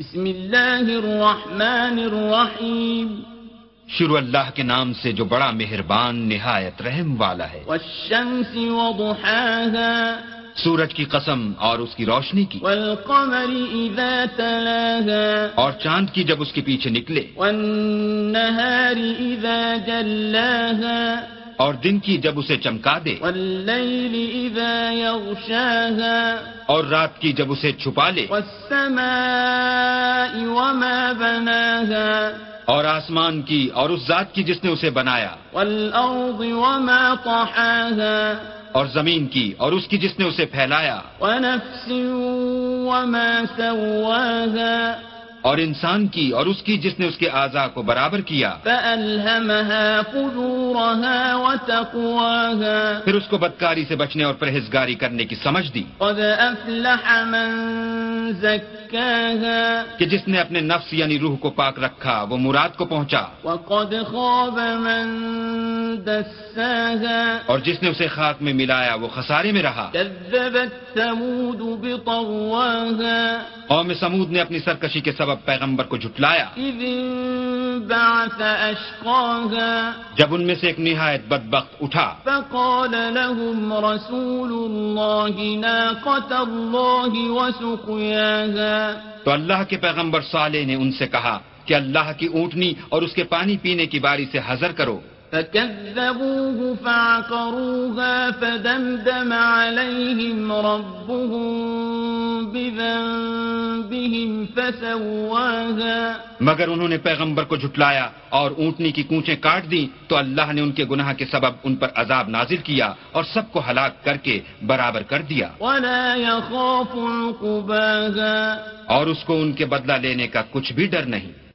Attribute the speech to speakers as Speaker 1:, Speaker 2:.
Speaker 1: بسم الله الرحمن الرحيم
Speaker 2: शुरू अल्लाह के नाम से जो बड़ा मेहरबान निहायत रहम वाला है
Speaker 1: والشمس وضحاها
Speaker 2: सूरज की कसम और उसकी रोशनी की
Speaker 1: والقمر إذا تلاها
Speaker 2: और चांद की जब उसके पीछे निकले
Speaker 1: والنهار إذا جلاها
Speaker 2: और दिन की जब उसे चमका दे
Speaker 1: والليل إذا يغشاها
Speaker 2: और रात की जब उसे छुपा ले
Speaker 1: والسماء وما بناها
Speaker 2: और आसमान की और उस जात की जिसने उसे बनाया
Speaker 1: والأرض وما طحاها
Speaker 2: और जमीन की और उसकी जिसने उसे फैलाया
Speaker 1: ونفس وما سواها
Speaker 2: और इंसान की और उसकी जिसने उसके आजा को बराबर किया
Speaker 1: فألهمها فجورها وتقواها
Speaker 2: फिर उसको बदकारी से बचने और परहेजगारी करने की समझ दी
Speaker 1: قد أفلح من زكاها
Speaker 2: कि जिसने अपने नफ्स यानी रूह को पाक रखा वो मुराद को पहुंचा
Speaker 1: وقد خاب من دساها
Speaker 2: और जिसने उसे खाक में मिलाया वो खसारे में रहा
Speaker 1: كذبت ثمود بطواها
Speaker 2: कौम समूद ने अपनी सरकशी के सबब पैगंबर को झुटलाया
Speaker 1: إذ انبعث أشقاها
Speaker 2: जब उनमें से एक निहायत बदबक उठा
Speaker 1: فقال لهم رسول الله ناقة الله وسقياها
Speaker 2: तो अल्लाह के पैगंबर साले ने उनसे कहा कि अल्लाह की ऊँटनी और उसके पानी पीने की बारी से हजर करो
Speaker 1: فكذبوه فعقروها فدمدم عليهم ربهم بذنبهم فسواها
Speaker 2: मगर उन्होंने पैगंबर को झुटलाया और ऊँटनी की कूचें काट दी तो अल्लाह ने उनके गुनाह के सबब उन पर अजाब नाजिल किया और सबको हलाक करके बराबर कर दिया
Speaker 1: ولا يخاف عقباها
Speaker 2: और उसको उनके बदला लेने का कुछ भी डर नहीं